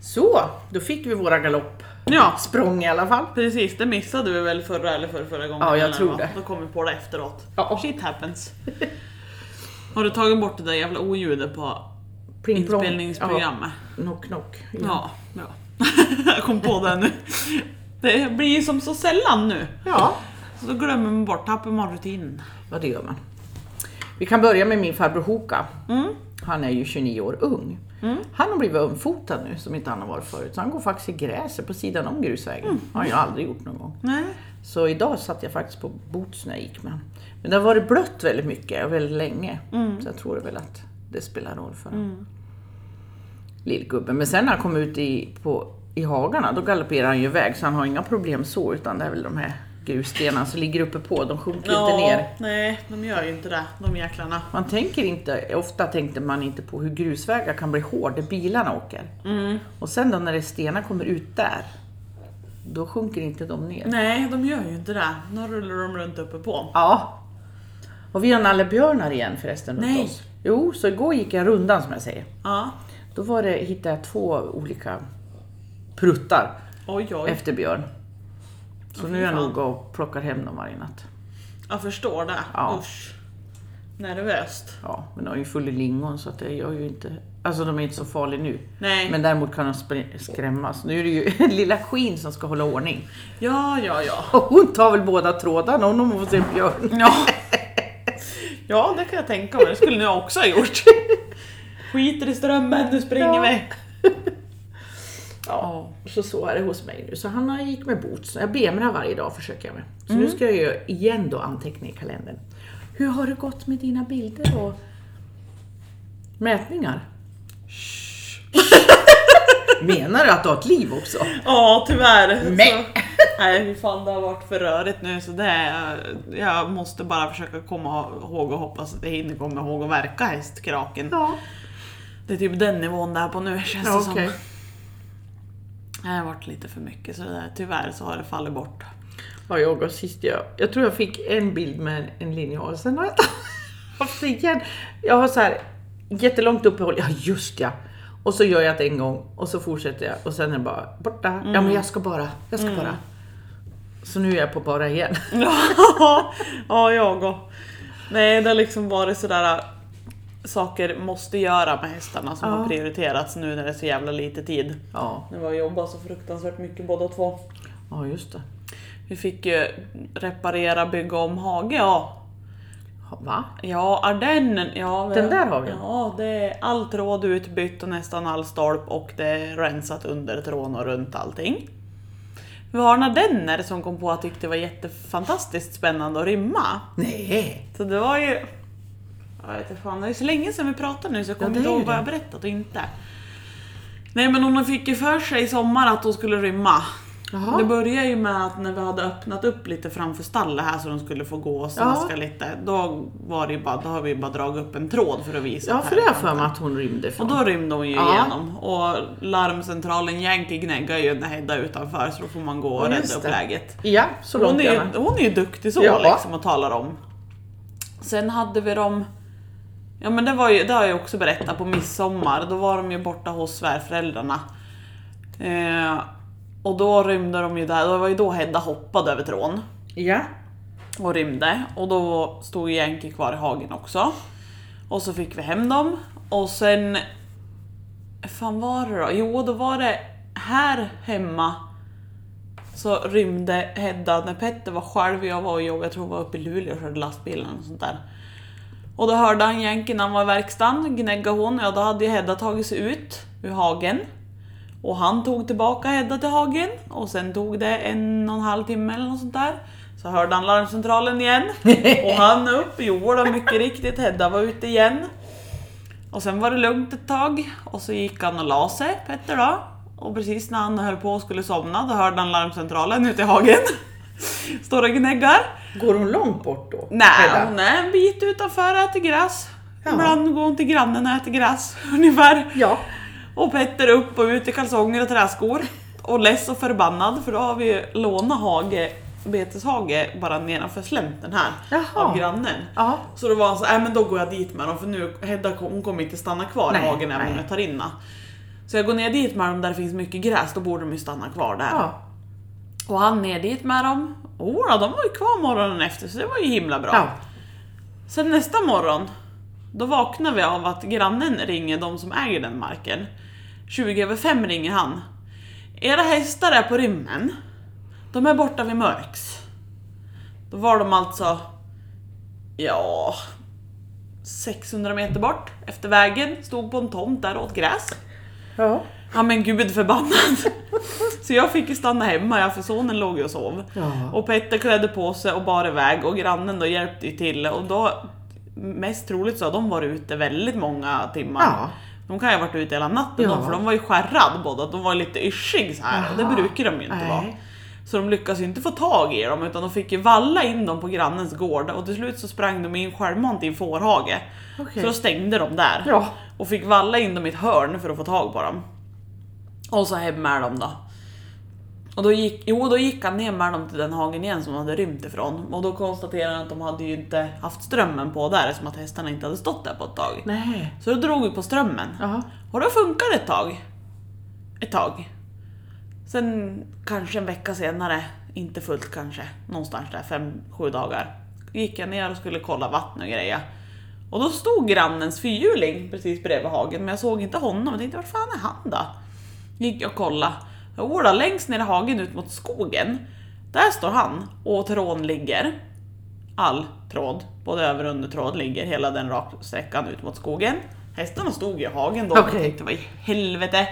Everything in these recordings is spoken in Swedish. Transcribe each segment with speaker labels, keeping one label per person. Speaker 1: Så, då fick vi våra galoppsprång
Speaker 2: Ja,
Speaker 1: i alla fall.
Speaker 2: precis. Det missade vi väl förra eller förra, förra gången?
Speaker 1: Ja, jag
Speaker 2: eller
Speaker 1: tror
Speaker 2: vad?
Speaker 1: det.
Speaker 2: Då kom vi på det efteråt.
Speaker 1: Ja.
Speaker 2: Shit happens. Har du tagit bort det där jävla oljudet på
Speaker 1: Pling plong.
Speaker 2: inspelningsprogrammet?
Speaker 1: Ja, knock knock.
Speaker 2: Ja, bra. Jag kom på det nu. Det blir ju som så sällan nu.
Speaker 1: ja.
Speaker 2: Så då glömmer man bort, tappar man rutinen.
Speaker 1: Ja, det gör man. Vi kan börja med min farbror Hoka.
Speaker 2: Mm.
Speaker 1: Han är ju 29 år ung. Han har blivit ömfotad nu, som inte han har varit förut. Så han går faktiskt i gräset på sidan om grusvägen.
Speaker 2: Mm.
Speaker 1: har han ju aldrig gjort någon gång.
Speaker 2: Nej.
Speaker 1: Så idag satt jag faktiskt på boots när jag gick med honom. Men det har varit blött väldigt mycket och väldigt länge. Så jag tror väl att det spelar roll för honom. Lillgubben. Men sen när han kom ut i, på, i hagarna, då galopperar han ju iväg. Så han har inga problem så, utan det är väl de här grusstenarna som ligger uppe på. De sjunker inte ner.
Speaker 2: Nej, de gör ju inte det, de jäklarna.
Speaker 1: Man tänker inte, ofta tänkte man inte på hur grusvägar kan bli hård där bilarna åker. Och sen då när det stenar kommer ut där, då sjunker inte de ner.
Speaker 2: Nej, de gör ju inte det. Då rullar de runt uppe på.
Speaker 1: Ja. Och vi har nallebjörnar igen förresten runt
Speaker 2: Nej.
Speaker 1: oss. Jo, så igår gick jag rundan som jag säger.
Speaker 2: Ja.
Speaker 1: Då var det, hittade jag två olika pruttar
Speaker 2: Oj, oj.
Speaker 1: efter björn. Så
Speaker 2: Åh,
Speaker 1: nu
Speaker 2: fy
Speaker 1: är jag
Speaker 2: fan.
Speaker 1: nog och plockar hem dem varje natt.
Speaker 2: Jag förstår det.
Speaker 1: Ja.
Speaker 2: Usch. Nervöst.
Speaker 1: Ja, men de är ju full i lingon så att det gör ju inte... Alltså de är inte så farliga nu.
Speaker 2: Nej.
Speaker 1: Men däremot kan de spr- skrämmas. Nu är det ju lilla Queen som ska hålla ordning.
Speaker 2: Ja, ja, ja.
Speaker 1: Och hon tar väl båda trådarna om hon får se en björn.
Speaker 2: Ja. ja, det kan jag tänka mig. Det skulle ni också ha gjort. Skiter i strömmen, nu springer
Speaker 1: Ja.
Speaker 2: vi.
Speaker 1: Ja, så så är det hos mig nu. Så han gick med boots. Jag bemrar varje dag försöker jag med. Så nu ska jag ju igen då anteckna i kalendern. Hur har det gått med dina bilder och mätningar? Menar du att du har ett liv också?
Speaker 2: Ja, tyvärr.
Speaker 1: Nej.
Speaker 2: Så, nej, fy fan det har varit för rörigt nu så det är, jag måste bara försöka komma ihåg och hoppas att jag hinner komma ihåg att verka hästkraken.
Speaker 1: Ja,
Speaker 2: Det är typ den nivån det är på nu känns det
Speaker 1: ja
Speaker 2: som.
Speaker 1: okej.
Speaker 2: Det har varit lite för mycket så det, är- tyvärr så har det fallit bort.
Speaker 1: Ja, jag och sist jag. Jag tror jag fick en bild med en, en linjal, sen har jag inte haft det igen. Jag har så här jättelångt uppehåll, ja just ja. Och så gör jag det en gång och så fortsätter jag och sen är det bara borta. Ja
Speaker 2: Mm.
Speaker 1: men jag ska bara, jag ska bara. Så nu är jag på bara igen.
Speaker 2: ja, jag och. Nej, det har liksom varit sådär äh, saker måste göra med hästarna som
Speaker 1: Ja.
Speaker 2: har prioriterats nu när det är så jävla lite tid.
Speaker 1: Ja,
Speaker 2: Det var jobbat så fruktansvärt mycket båda två.
Speaker 1: ja just det.
Speaker 2: Vi fick ju reparera, bygga om hage. Ja,
Speaker 1: Ha- Va?
Speaker 2: ja ardennen. Ja,
Speaker 1: Den där hagen?
Speaker 2: Ja, det är all tråd utbytt och nästan all stolp och det är rensat under trån och runt allting. Vi har en ardenner som kom på att tyckte det var jättefantastiskt spännande att rymma.
Speaker 1: Nej.
Speaker 2: Så det var ju... Jag vet inte fan, det är så länge sedan vi pratade nu så jag
Speaker 1: Ja,
Speaker 2: kommer
Speaker 1: det
Speaker 2: inte
Speaker 1: är ju
Speaker 2: ihåg vad
Speaker 1: det.
Speaker 2: jag berättat och inte. Nej men hon fick ju för sig i sommar att hon skulle rymma.
Speaker 1: Jaha.
Speaker 2: Det började ju med att när vi hade öppnat upp lite framför stallet här så de skulle få gå och snaska lite. Då, var det ju bara, då har vi ju bara dragit upp en tråd för att visa.
Speaker 1: Ja
Speaker 2: att
Speaker 1: för
Speaker 2: här
Speaker 1: det har
Speaker 2: är
Speaker 1: jag för
Speaker 2: tomten.
Speaker 1: mig att hon rymde
Speaker 2: Och
Speaker 1: ifrån.
Speaker 2: då rymde hon ju
Speaker 1: Ja.
Speaker 2: igenom. Och larmcentralen Yankee gnäggar ju när Hedda är utanför så då får man gå och
Speaker 1: Ja,
Speaker 2: rädda
Speaker 1: just
Speaker 2: upp
Speaker 1: det.
Speaker 2: läget.
Speaker 1: Ja, så långt
Speaker 2: Hon är, ju,
Speaker 1: gärna.
Speaker 2: hon är ju duktig så
Speaker 1: Ja.
Speaker 2: liksom och talar om. Sen hade vi dem... Ja men det, var ju, det har jag också berättat på midsommar. Då var de ju borta hos svärföräldrarna. Eh, och då rymde de ju där. Det var ju då Hedda hoppade över trån
Speaker 1: Ja.
Speaker 2: och rymde. Och då stod ju Yankee kvar i hagen också. Och så fick vi hem dem. Och sen... fan var det då? Jo, då var det här hemma så rymde Hedda när Petter var själv och jag var och jobbade, jag tror hon var uppe i Luleå och körde lastbilen och sånt där. Och då hörde han Yankee när han var i verkstaden, gnägga hon, ja då hade ju Hedda tagit sig ut ur hagen. Och han tog tillbaka Hedda till hagen och sen tog det en och en halv timme eller något sånt där. Så hörde han larmcentralen igen och han upp, jo då mycket riktigt, Hedda var ute igen. Och sen var det lugnt ett tag och så gick han och la sig, Petter då. Och precis när han höll på och skulle somna då hörde han larmcentralen ute i hagen. Står och gnäggar.
Speaker 1: Går hon långt bort då?
Speaker 2: Nej,
Speaker 1: Hedda?
Speaker 2: hon är en bit utanför och äter gräs.
Speaker 1: Ja.
Speaker 2: Ibland går hon till grannen och äter gräs ungefär.
Speaker 1: Ja.
Speaker 2: Och Petter upp och ut i kalsonger och träskor. Och less och förbannad för då har vi lånat hage, beteshage bara nedanför slänten här
Speaker 1: Jaha.
Speaker 2: av grannen.
Speaker 1: Ja.
Speaker 2: Så då var han så nej men då går jag dit med dem för nu Hedda kom, hon kommer inte stanna kvar
Speaker 1: Nej,
Speaker 2: i hagen även om
Speaker 1: nej.
Speaker 2: jag tar in henne. Så jag går ner dit med dem där det finns mycket gräs, då borde de ju stanna kvar där.
Speaker 1: Ja.
Speaker 2: Och han ner dit med dem. Oh, de var ju kvar morgonen efter så det var ju himla bra.
Speaker 1: ja.
Speaker 2: Sen nästa morgon, då vaknar vi av att grannen ringer de som äger den marken. 20 över 5 ringer han. Era hästar är på rymmen. De är borta vid mörks. Då var de alltså, ja, 600 meter bort efter vägen. Stod på en tomt där och åt gräs.
Speaker 1: Ja.
Speaker 2: Ja men gud förbannad. Så jag fick ju stanna hemma, ja, för sonen låg ju och sov.
Speaker 1: Ja.
Speaker 2: Och Petter klädde på sig och bar iväg och grannen då hjälpte ju till och då mest troligt så har de varit ute väldigt många timmar.
Speaker 1: Ja.
Speaker 2: De kan ju ha varit ute hela natten
Speaker 1: Ja.
Speaker 2: de, för de var ju skärrad båda, de var ju lite yrsig så här och
Speaker 1: Aha.
Speaker 2: det brukar de ju inte
Speaker 1: Nej.
Speaker 2: vara. Så de lyckades ju inte få tag i dem utan de fick ju valla in dem på grannens gård och till slut så sprang de in självmant i en fårhage.
Speaker 1: Okej.
Speaker 2: Så då stängde de där
Speaker 1: Ja.
Speaker 2: och fick valla in dem i ett hörn för att få tag på dem. Och så hem med dem då. Och då gick, jo, då gick han ner med dem till den hagen igen som de hade rymt ifrån. Och då konstaterade han att de hade ju inte haft strömmen på där som att hästarna inte hade stått där på ett tag.
Speaker 1: Nej.
Speaker 2: Så då drog vi på strömmen.
Speaker 1: Ja.
Speaker 2: Och då funkade det ett tag. Ett tag. Sen kanske en vecka senare, inte fullt kanske, någonstans där, fem, sju dagar. Gick jag ner och skulle kolla vatten och grejer. Och då stod grannens fyrhjuling precis bredvid hagen, men jag såg inte honom. Jag tänkte, vart fan är han då? Gick jag och kollade. Jodå, längst ner i hagen ut mot skogen, där står han och tråden ligger. All tråd, både över och undertråd, ligger hela den raka sträckan ut mot skogen. Hästarna stod ju i hagen då, och
Speaker 1: Okej.
Speaker 2: jag tänkte, vad i helvete?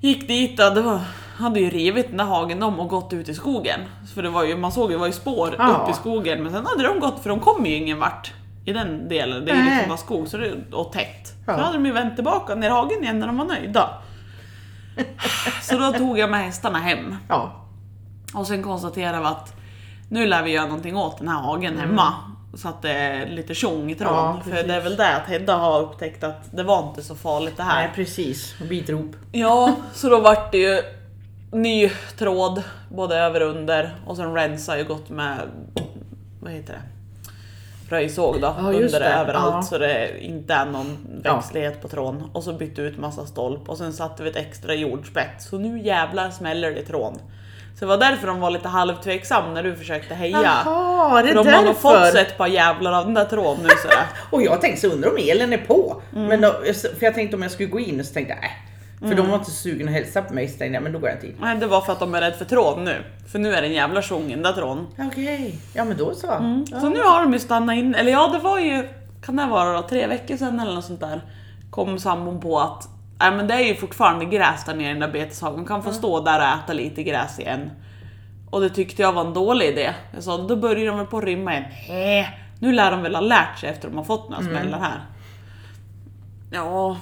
Speaker 2: Gick dit och det var, hade ju rivit den där hagen om och gått ut i skogen. För det var ju, man såg ju, det var ju spår
Speaker 1: Ja.
Speaker 2: upp i skogen men sen hade de gått för de kom ju ingen vart i den delen. Det är ju
Speaker 1: Nej.
Speaker 2: liksom bara skog så det, och tätt.
Speaker 1: Ja.
Speaker 2: Så hade de ju vänt tillbaka ner i hagen igen när de var nöjda. Så då tog jag med hästarna hem
Speaker 1: Ja.
Speaker 2: och sen konstaterade vi att nu lär vi göra någonting åt den här hagen hemma. Så att det är lite tjong i tråden.
Speaker 1: Mm. Ja,
Speaker 2: för
Speaker 1: precis.
Speaker 2: det är väl det att Hedda har upptäckt att det var inte så farligt det här.
Speaker 1: Nej precis. Bitrop.
Speaker 2: Ja, så då vart det ju ny tråd både över och under och sen rensar ju gått med vad heter det? Röjsåg då,
Speaker 1: Ja, just
Speaker 2: under
Speaker 1: det.
Speaker 2: överallt
Speaker 1: Ja.
Speaker 2: så det inte är någon
Speaker 1: Ja.
Speaker 2: växtlighet på trån. Och så bytte ut massa stolp och sen satte vi ett extra jordspett. Så nu jävlar smäller det i trån. Så det var därför de var lite halvtveksam när du försökte heja.
Speaker 1: Jaha, det
Speaker 2: För
Speaker 1: är
Speaker 2: de har nog fått sig
Speaker 1: därför.
Speaker 2: ett par jävlar av den där trån nu sådär.
Speaker 1: Och jag tänkte så undrar om elen är på.
Speaker 2: Mm.
Speaker 1: Men då, för jag tänkte om jag skulle gå in och så tänkte jag nej. För de var inte sugna att hälsa på mig så tänkte jag men då går jag inte in.
Speaker 2: Nej, det var för att de är rädda för trån nu. För nu är det en jävla tjong i den där trån.
Speaker 1: Okej, ja men då så. Ja.
Speaker 2: Så nu har de ju stannat in, eller ja det var ju, kan det vara då, tre veckor sedan eller något sånt där. Kom sambon på att, nej men det är ju fortfarande gräs där nere i den där beteshagen, kan få stå där och äta lite gräs igen. Och det tyckte jag var en dålig idé. Jag sa, då börjar de väl på att rymma igen.
Speaker 1: Äh.
Speaker 2: Nej, nu lär de väl ha lärt sig efter de har fått några smällar här. Ja,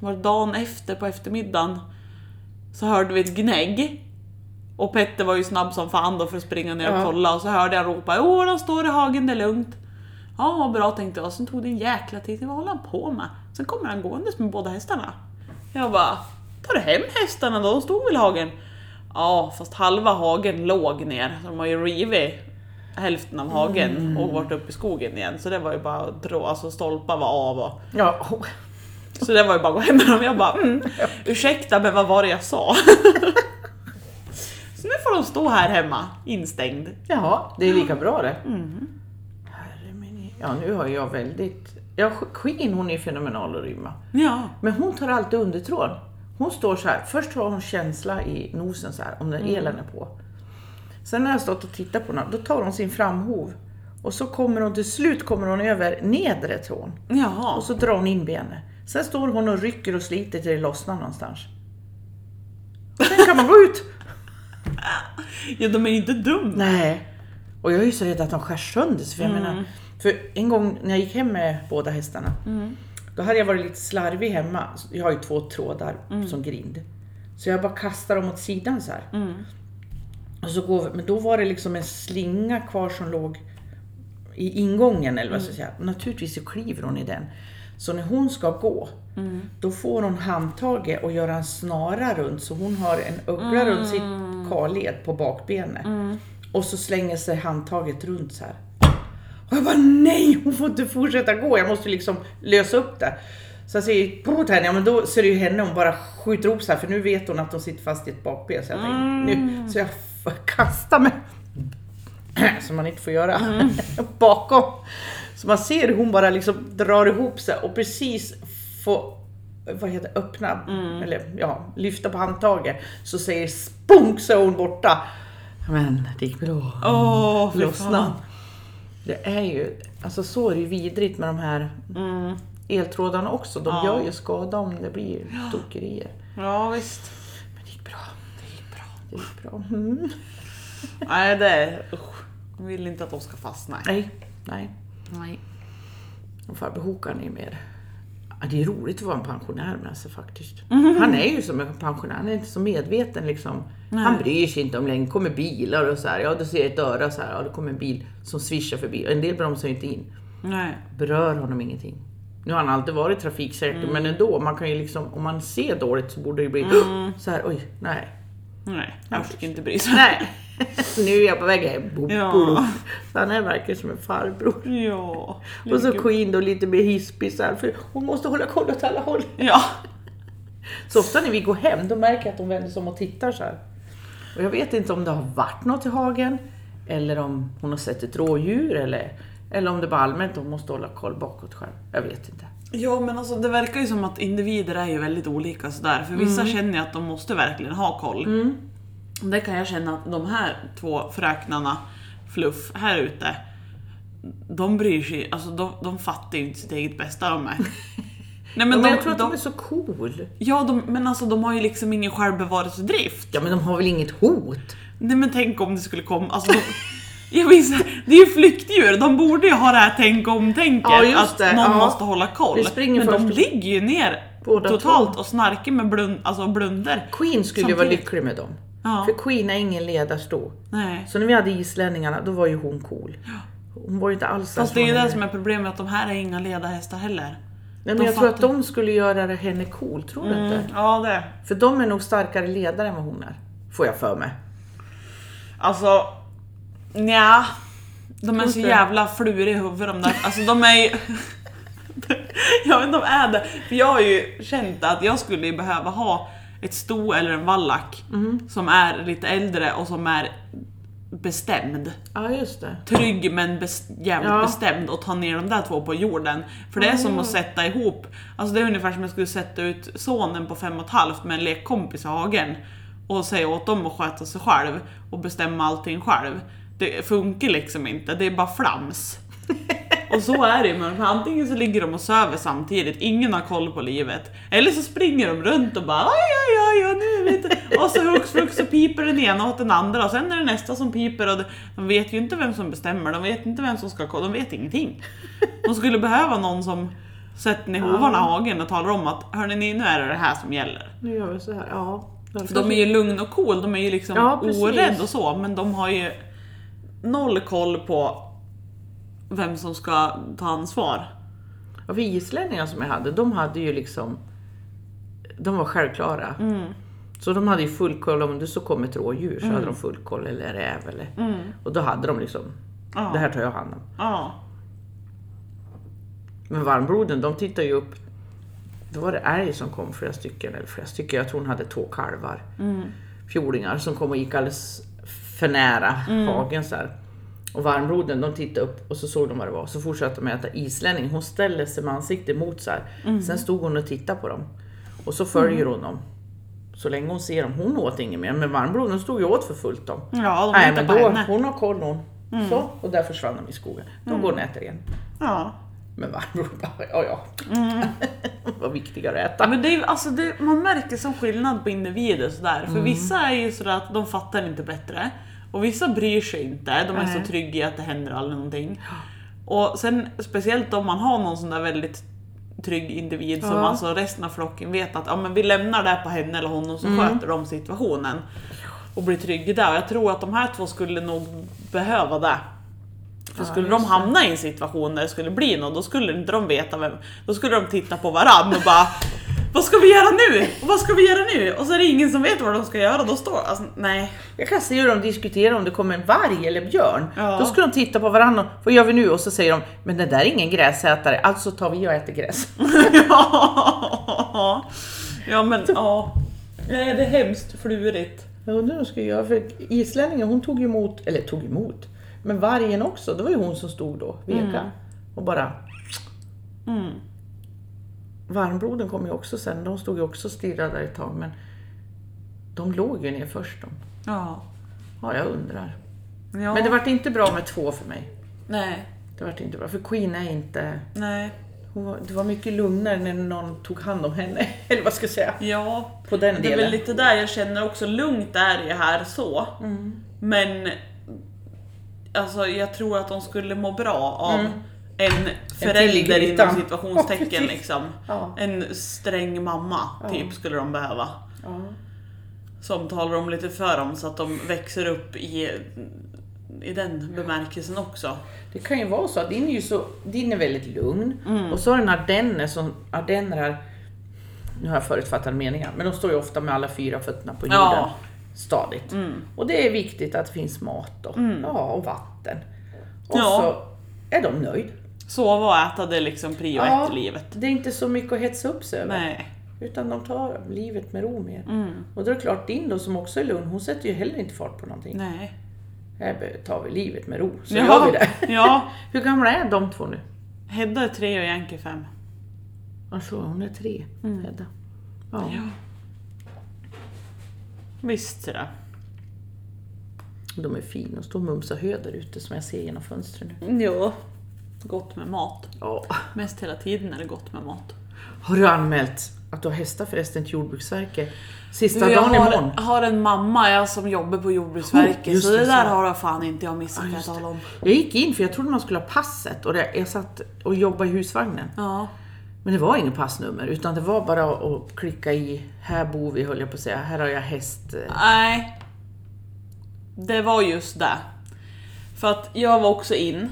Speaker 2: var det dagen efter på eftermiddagen så hörde vi ett gnägg. Och Petter var ju snabb som fan då för att springa ner och
Speaker 1: Ja.
Speaker 2: kolla och så hörde jag ropa Åh, de står i hagen, det är lugnt. Ja, vad bra tänkte jag. Sen tog det en jäkla tid, vad håller han på med? Sen kommer han gåendes med båda hästarna. Jag bara, tar du hem hästarna då? De stod väl i hagen? Ja, fast halva hagen låg ner. så De har ju rivit hälften av hagen och varit uppe i skogen igen. Så det var ju bara att dra, alltså stolpar var av och
Speaker 1: Ja. oh.
Speaker 2: så det var ju bara att gå hem med dem. Jag bara mm, ursäkta men vad var det jag sa? så nu får de stå här hemma instängd.
Speaker 1: Jaha, det är lika bra det.
Speaker 2: Mm.
Speaker 1: Herre min... Ja nu har jag väldigt... Ja, Queen hon är fenomenal att rymma.
Speaker 2: Ja.
Speaker 1: Men hon tar alltid undertråd. Hon står så här. Först har hon känsla i nosen så här om den elen är på. Sen när jag har stått och tittat på henne, då tar hon sin framhov. Och så kommer hon till slut kommer hon över nedre trån.
Speaker 2: Jaha.
Speaker 1: Och så drar hon in benet. Sen står hon och rycker och sliter till det lossnar någonstans. Sen kan man gå ut.
Speaker 2: Ja de är ju inte dumma.
Speaker 1: Nej. Och jag är ju så rädd att de skär sönder sig. För, jag menar, för en gång när jag gick hem med båda hästarna, då hade jag varit lite slarvig hemma. Så Jag har ju två trådar som grind. Så jag bara kastar dem åt sidan så här. Och så går vi, men då var det liksom en slinga kvar som låg i ingången eller vad jag ska säga. Naturligtvis så kliver hon i den. Så när hon ska gå, då får hon handtaget och gör en snara runt så hon har en uggla runt sitt karled på bakbenet. Och så slänger sig handtaget runt så här. Och jag bara nej, hon får inte fortsätta gå, jag måste liksom lösa upp det. Så jag säger på henne, ja men då ser det ju henne hon bara skjuter ihop så här för nu vet hon att hon sitter fast i ett bakben. Så jag, tänkte, nu, så jag f- kastar mig, som man inte får göra, bakom. Så man ser hur hon bara liksom drar ihop sig och precis får vad heter det, öppna, eller ja, lyfta på handtaget. Så säger spunk så är hon borta. Men det gick väl att
Speaker 2: Åh, fy fan.
Speaker 1: lossna. Det är ju, alltså så är det ju vidrigt med de här
Speaker 2: Mm.
Speaker 1: eltrådarna också. De
Speaker 2: Ja.
Speaker 1: gör ju skada om det blir tokerier.
Speaker 2: Ja, visst.
Speaker 1: Men det gick bra. Det gick bra. Det gick bra. Mm.
Speaker 2: Nej, det är... Usch. Jag vill inte att de ska fastna.
Speaker 1: Nej, nej.
Speaker 2: Nej.
Speaker 1: Och farbror Håkan är ju mer... Ja, det är roligt att vara en pensionär med sig faktiskt. Han är ju som en pensionär, han är inte så medveten liksom. Han bryr sig inte om längden. kommer bilar och så här. Ja, du ser ett öra så här. Ja, det kommer en bil som svischar förbi. En del bromsar ju inte in.
Speaker 2: Nej.
Speaker 1: berör honom ingenting. Nu har han alltid varit trafiksäker men ändå, man kan ju liksom, om man ser dåligt så borde det bli så här, oj, nej.
Speaker 2: Nej, jag fick inte bry sig.
Speaker 1: Nej. nu är jag på väg hem. Bo,
Speaker 2: Ja.
Speaker 1: bo. Så han är verkligen som en farbror.
Speaker 2: Ja.
Speaker 1: Och så
Speaker 2: lite-
Speaker 1: Queen då lite mer hispig så här, för hon måste hålla koll åt alla håll.
Speaker 2: Ja.
Speaker 1: Så ofta när vi går hem då märker jag att hon vänder sig om och tittar så här. Och jag vet inte om det har varit något i hagen eller om hon har sett ett rådjur eller, eller om det bara allmänt hon måste hålla koll bakåt själv. Jag vet inte.
Speaker 2: Ja men alltså det verkar ju som att individer är ju väldigt olika sådär. För vissa
Speaker 1: Mm.
Speaker 2: känner ju att de måste verkligen ha koll. Det kan jag känna att de här två fröknarna, Fluff, här ute. De bryr sig alltså de, de fattar ju inte sitt eget bästa de är. Nej
Speaker 1: Men,
Speaker 2: men,
Speaker 1: jag
Speaker 2: de,
Speaker 1: tror att
Speaker 2: de,
Speaker 1: de är så cool.
Speaker 2: ja, de, men alltså de har ju liksom ingen självbevarelsedrift.
Speaker 1: Ja men de har väl inget hot?
Speaker 2: Nej men tänk om det skulle komma, alltså de, Jag minns, det är ju flyktdjur, de borde ju ha det här tänk om tänket
Speaker 1: Ja, just
Speaker 2: att
Speaker 1: det,
Speaker 2: någon
Speaker 1: ja.
Speaker 2: måste hålla koll.
Speaker 1: Vi springer
Speaker 2: men de
Speaker 1: först.
Speaker 2: ligger ju ner
Speaker 1: Båda
Speaker 2: totalt och snarkar med blund, alltså blunder.
Speaker 1: Queen skulle ju vara
Speaker 2: Samtidigt.
Speaker 1: lycklig med dem.
Speaker 2: Ja.
Speaker 1: För Queen är ingen ledarstor.
Speaker 2: Nej.
Speaker 1: Så när vi hade islänningarna, då var ju hon cool. Hon var ju inte alls
Speaker 2: Fast det är ju
Speaker 1: hon
Speaker 2: det som är problemet, att de här är inga ledarhästar heller.
Speaker 1: Nej, men
Speaker 2: de
Speaker 1: Jag tror att
Speaker 2: fattar. Mm.
Speaker 1: de skulle göra det- henne cool, tror du inte?
Speaker 2: Ja det.
Speaker 1: För de är nog starkare ledare än vad hon är. Får jag för mig.
Speaker 2: Alltså, nja. De är så
Speaker 1: Inte.
Speaker 2: jävla fluriga i huvudet de där. Alltså de är ju... jag vet inte om de är det. För jag har ju känt att jag skulle ju behöva ha ett sto eller en vallack som är lite äldre och som är bestämd.
Speaker 1: Ja just det.
Speaker 2: Trygg men bes- jävligt
Speaker 1: Ja.
Speaker 2: bestämd och ta ner de där två på jorden. För det är som att sätta ihop, alltså det är ungefär som jag skulle sätta ut sonen på fem och ett halvt med en lekkompis i hagen och säga åt dem att sköta sig själv och bestämma allting själv. Det funkar liksom inte, det är bara flams. Och så är det ju, men antingen så ligger de och söver samtidigt, ingen har koll på livet. Eller så springer de runt och bara oj, oj, oj, oj nu vet jag." Och så hux flux så piper den ena åt den andra och sen är det nästa som piper och de- de vet ju inte vem som bestämmer, de vet inte vem som ska kolla, de vet ingenting. De skulle behöva någon som sätter ner hovarna i hagen och talar om att hörni ni, nu är det det här som gäller.
Speaker 1: Nu gör vi så här. Ja.
Speaker 2: För de är ju lugn och cool, de är ju liksom
Speaker 1: Ja, precis.
Speaker 2: orädd och så, men de har ju noll koll på vem som ska ta ansvar.
Speaker 1: Och för islänningar som jag hade, de hade ju liksom... De var självklara. Så de hade ju full koll, om det så kom ett rådjur så hade de full koll, eller räv eller... Och då hade de liksom,
Speaker 2: Ja.
Speaker 1: det här tar jag hand om.
Speaker 2: Ja.
Speaker 1: Men varmbroden, de tittar ju upp. Då var det älg som kom, flera stycken, eller flera stycken, jag tror hon hade två kalvar. Fjordingar som kom och gick alldeles för nära hagen så här. Och varmbroden, de tittade upp och så såg de vad det var. Så fortsatte de äta islänning. Hon ställde sig med ansiktet mot så här. Sen stod hon och tittade på dem. Och så följer hon dem. Så länge hon ser dem. Hon åt inget mer, men varmbroden stod ju åt för fullt dem.
Speaker 2: Ja, de
Speaker 1: Nej
Speaker 2: hittar
Speaker 1: men
Speaker 2: på
Speaker 1: då,
Speaker 2: henne.
Speaker 1: hon har koll hon. Så, och där försvann de i skogen. Då går hon och äter igen.
Speaker 2: Ja.
Speaker 1: Men varmor bara, ja ja.
Speaker 2: Mm.
Speaker 1: Vad viktigare att
Speaker 2: Ja,
Speaker 1: äta.
Speaker 2: Men det är, ju- alltså det, man märker som skillnad på individer sådär. För vissa är ju sådär att de fattar inte bättre. Och vissa bryr sig inte. De är
Speaker 1: Nej.
Speaker 2: så trygga i att det händer aldrig någonting. Och sen speciellt om man har någon sån där väldigt trygg individ som
Speaker 1: Ja.
Speaker 2: alltså resten av flocken vet att ja, men vi lämnar det här på henne eller honom så sköter de situationen. Och blir trygg i det. Och jag tror att de här två skulle nog behöva det. För skulle de hamna i en situation där det skulle bli något, då skulle inte de veta vem... Då skulle de titta på varandra och bara Vad ska vi göra nu? Och vad ska vi göra nu? Och så är det ingen som vet vad de ska göra, då står alltså, nej.
Speaker 1: Jag kan se hur de diskuterar om det kommer en varg eller björn.
Speaker 2: Ja.
Speaker 1: Då skulle de titta på varandra och vad gör vi nu? Och så säger de, men det där är ingen gräsätare, alltså tar vi och äter gräs.
Speaker 2: ja. ja men ja. Nej, det är hemskt flurigt.
Speaker 1: Jag undrar vad de skulle göra, för islänningen hon tog ju emot, eller tog emot, men vargen också, det var ju hon som stod då, Vega, och bara...
Speaker 2: Mm.
Speaker 1: Varmbloden kom ju också sen, de stod ju också och stirrade där ett tag, men de låg ju ner först de.
Speaker 2: Ja.
Speaker 1: Ja, jag undrar.
Speaker 2: ja.
Speaker 1: Men det vart inte bra med två för mig.
Speaker 2: Nej,
Speaker 1: Det vart inte bra, för Queen är inte...
Speaker 2: nej.
Speaker 1: Hon var, det var mycket lugnare när någon tog hand om henne, eller vad ska jag säga?
Speaker 2: Ja.
Speaker 1: På den
Speaker 2: Det är väl
Speaker 1: delen.
Speaker 2: lite där jag känner också, lugnt är det här så. Men alltså, jag tror att de skulle må bra av
Speaker 1: Mm.
Speaker 2: en förälder
Speaker 1: tillgritan.
Speaker 2: inom situationstecken.
Speaker 1: Ja, precis.
Speaker 2: liksom.
Speaker 1: Ja.
Speaker 2: En sträng mamma typ skulle de behöva.
Speaker 1: Ja.
Speaker 2: Som talar om lite för dem så att de växer upp i, i den bemärkelsen också.
Speaker 1: Det kan ju vara så att din är, ju så, din är väldigt lugn
Speaker 2: Mm.
Speaker 1: och så har den ardenner som ardenner här, nu har jag förutfattade meningar, men de står ju ofta med alla fyra fötterna på jorden
Speaker 2: Ja. Mm.
Speaker 1: stadigt. Och det är viktigt att det finns mat och, ja, och vatten. Och
Speaker 2: Ja.
Speaker 1: så är de nöjd.
Speaker 2: Sova och äta det är liksom prio ett i livet.
Speaker 1: Det är inte så mycket att hetsa upp sig över.
Speaker 2: Nej.
Speaker 1: Utan de tar livet med ro mer. Och då är det klart, din då som också är lugn, hon sätter ju heller inte fart på någonting.
Speaker 2: Nej.
Speaker 1: Här tar vi livet med ro, så gör vi det.
Speaker 2: ja.
Speaker 1: Hur gamla är de två nu?
Speaker 2: Hedda är tre och Yankee fem.
Speaker 1: Alltså, hon är tre, Hedda. Ja.
Speaker 2: Ja. Visst det.
Speaker 1: De är fina och står och mumsar hö där ute som jag ser genom fönstren nu.
Speaker 2: Ja. Gott med mat.
Speaker 1: Ja.
Speaker 2: Mest hela tiden är det gott med mat.
Speaker 1: Har du anmält att du har hästar förresten till Jordbruksverket? Sista
Speaker 2: jag
Speaker 1: dagen
Speaker 2: har,
Speaker 1: imorgon.
Speaker 2: har en mamma jag som jobbar på Jordbruksverket
Speaker 1: Oh, just
Speaker 2: så det
Speaker 1: det,
Speaker 2: där
Speaker 1: så.
Speaker 2: har jag fan inte jag missat kan jag
Speaker 1: Just
Speaker 2: tala om.
Speaker 1: det. Jag gick in för jag trodde man skulle ha passet och det, jag satt och jobbade i husvagnen.
Speaker 2: Ja.
Speaker 1: Men det var inget passnummer utan det var bara att klicka i, här bor vi höll jag på att säga, här har jag häst.
Speaker 2: Nej. Det var just det. För att jag var också in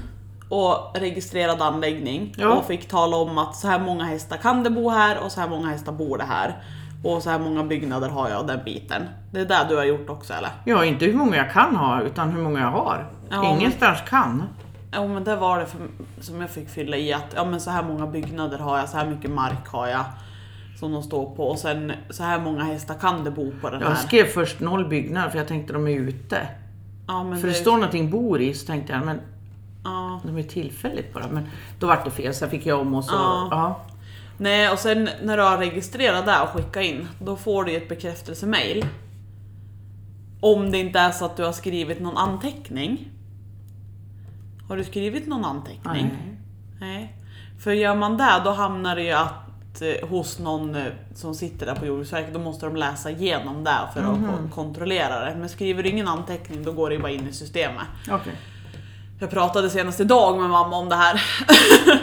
Speaker 2: och registrerade anläggning
Speaker 1: Ja.
Speaker 2: och fick tala om att så här många hästar kan det bo här och så här många hästar bor det här. Och så här många byggnader har jag och den biten. Det är det du har gjort också eller?
Speaker 1: Ja, inte hur många jag kan ha utan hur många jag har.
Speaker 2: Ja,
Speaker 1: Ingenstans kan.
Speaker 2: Ja men det var det för, som jag fick fylla i att ja men så här många byggnader har jag, så här mycket mark har jag som de står på och sen så här många hästar kan det bo på den
Speaker 1: Jag
Speaker 2: här.
Speaker 1: skrev först noll byggnader för jag tänkte de är ute.
Speaker 2: Ja, men
Speaker 1: För det
Speaker 2: det-
Speaker 1: står någonting bor i så tänkte jag, men
Speaker 2: ja.
Speaker 1: de är tillfälligt bara. Men då vart det fel, sen fick jag om och så.
Speaker 2: Ja.
Speaker 1: Ja.
Speaker 2: Nej, och sen när du har registrerat det och skickat in, då får du ju ett bekräftelsemail. Om det inte är så att du har skrivit någon anteckning. Har du skrivit någon anteckning?
Speaker 1: Nej.
Speaker 2: Nej. För gör man det, då hamnar det ju att eh, hos någon eh, som sitter där på Jordbruksverket, då måste de läsa igenom det för att ko- kontrollera det. Men skriver du ingen anteckning, då går det ju bara in i systemet.
Speaker 1: Okej.
Speaker 2: Jag pratade senast idag med mamma om det här.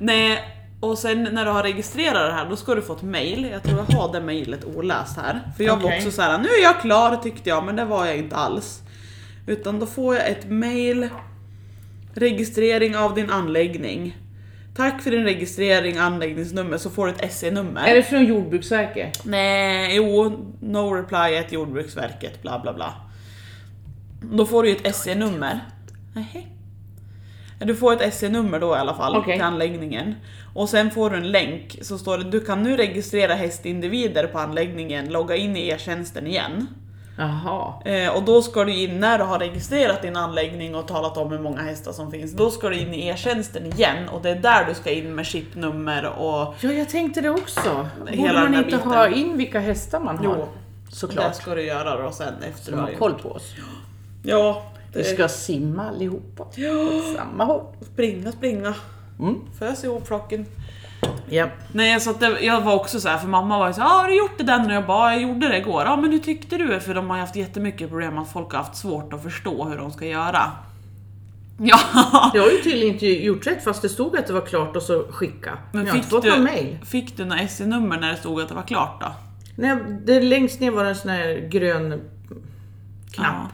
Speaker 2: Nej, och sen när du har registrerat det här då ska du få ett mail. Jag tror jag har det mejlet oläst här. För jag var
Speaker 1: Okej.
Speaker 2: också så här: nu är jag klar tyckte jag, men det var jag inte alls. Utan då får jag ett mail. Registrering av din anläggning. Tack för din registrering, anläggningsnummer, så får du ett SE-nummer.
Speaker 1: Är det från Jordbruksverket?
Speaker 2: Nej, jo, no reply at Jordbruksverket, bla bla bla. Då får du ju ett SE-nummer. Nej. Du får ett SE-nummer då i alla fall
Speaker 1: Okej.
Speaker 2: till anläggningen. Och sen får du en länk så står det du kan nu registrera hästindivider på anläggningen, logga in i e-tjänsten igen.
Speaker 1: Jaha.
Speaker 2: Eh, och då ska du in när du har registrerat din anläggning och talat om hur många hästar som finns. Då ska du in i e-tjänsten igen och det är där du ska in med chipnummer och
Speaker 1: Ja, jag tänkte det också. Borde
Speaker 2: Hela den
Speaker 1: man
Speaker 2: där
Speaker 1: inte
Speaker 2: biten.
Speaker 1: ha in vilka hästar man har?
Speaker 2: Jo, det
Speaker 1: såklart.
Speaker 2: ska du göra då sen efter
Speaker 1: De
Speaker 2: du har
Speaker 1: har
Speaker 2: gjort.
Speaker 1: koll på oss.
Speaker 2: Ja,
Speaker 1: Vi ska simma allihopa. Åt samma håll.
Speaker 2: Springa, springa.
Speaker 1: Mm.
Speaker 2: Fös ihop flocken.
Speaker 1: Ja.
Speaker 2: Nej, så att det, jag var också så här, för mamma var ju så här, "Ah, har du gjort det den? Och jag bara, jag gjorde det igår. Ja, men hur tyckte du? För de har ju haft jättemycket problem att folk har haft svårt att förstå hur de ska göra.
Speaker 1: Mm.
Speaker 2: Ja.
Speaker 1: Jag har ju tydligen inte gjort rätt fast det stod att det var klart och så skicka. Men jag har inte fått någon mejl.
Speaker 2: du, fick du några SE-nummer när det stod att det var klart då?
Speaker 1: Nej, det längst ner var det en sån här grön knapp.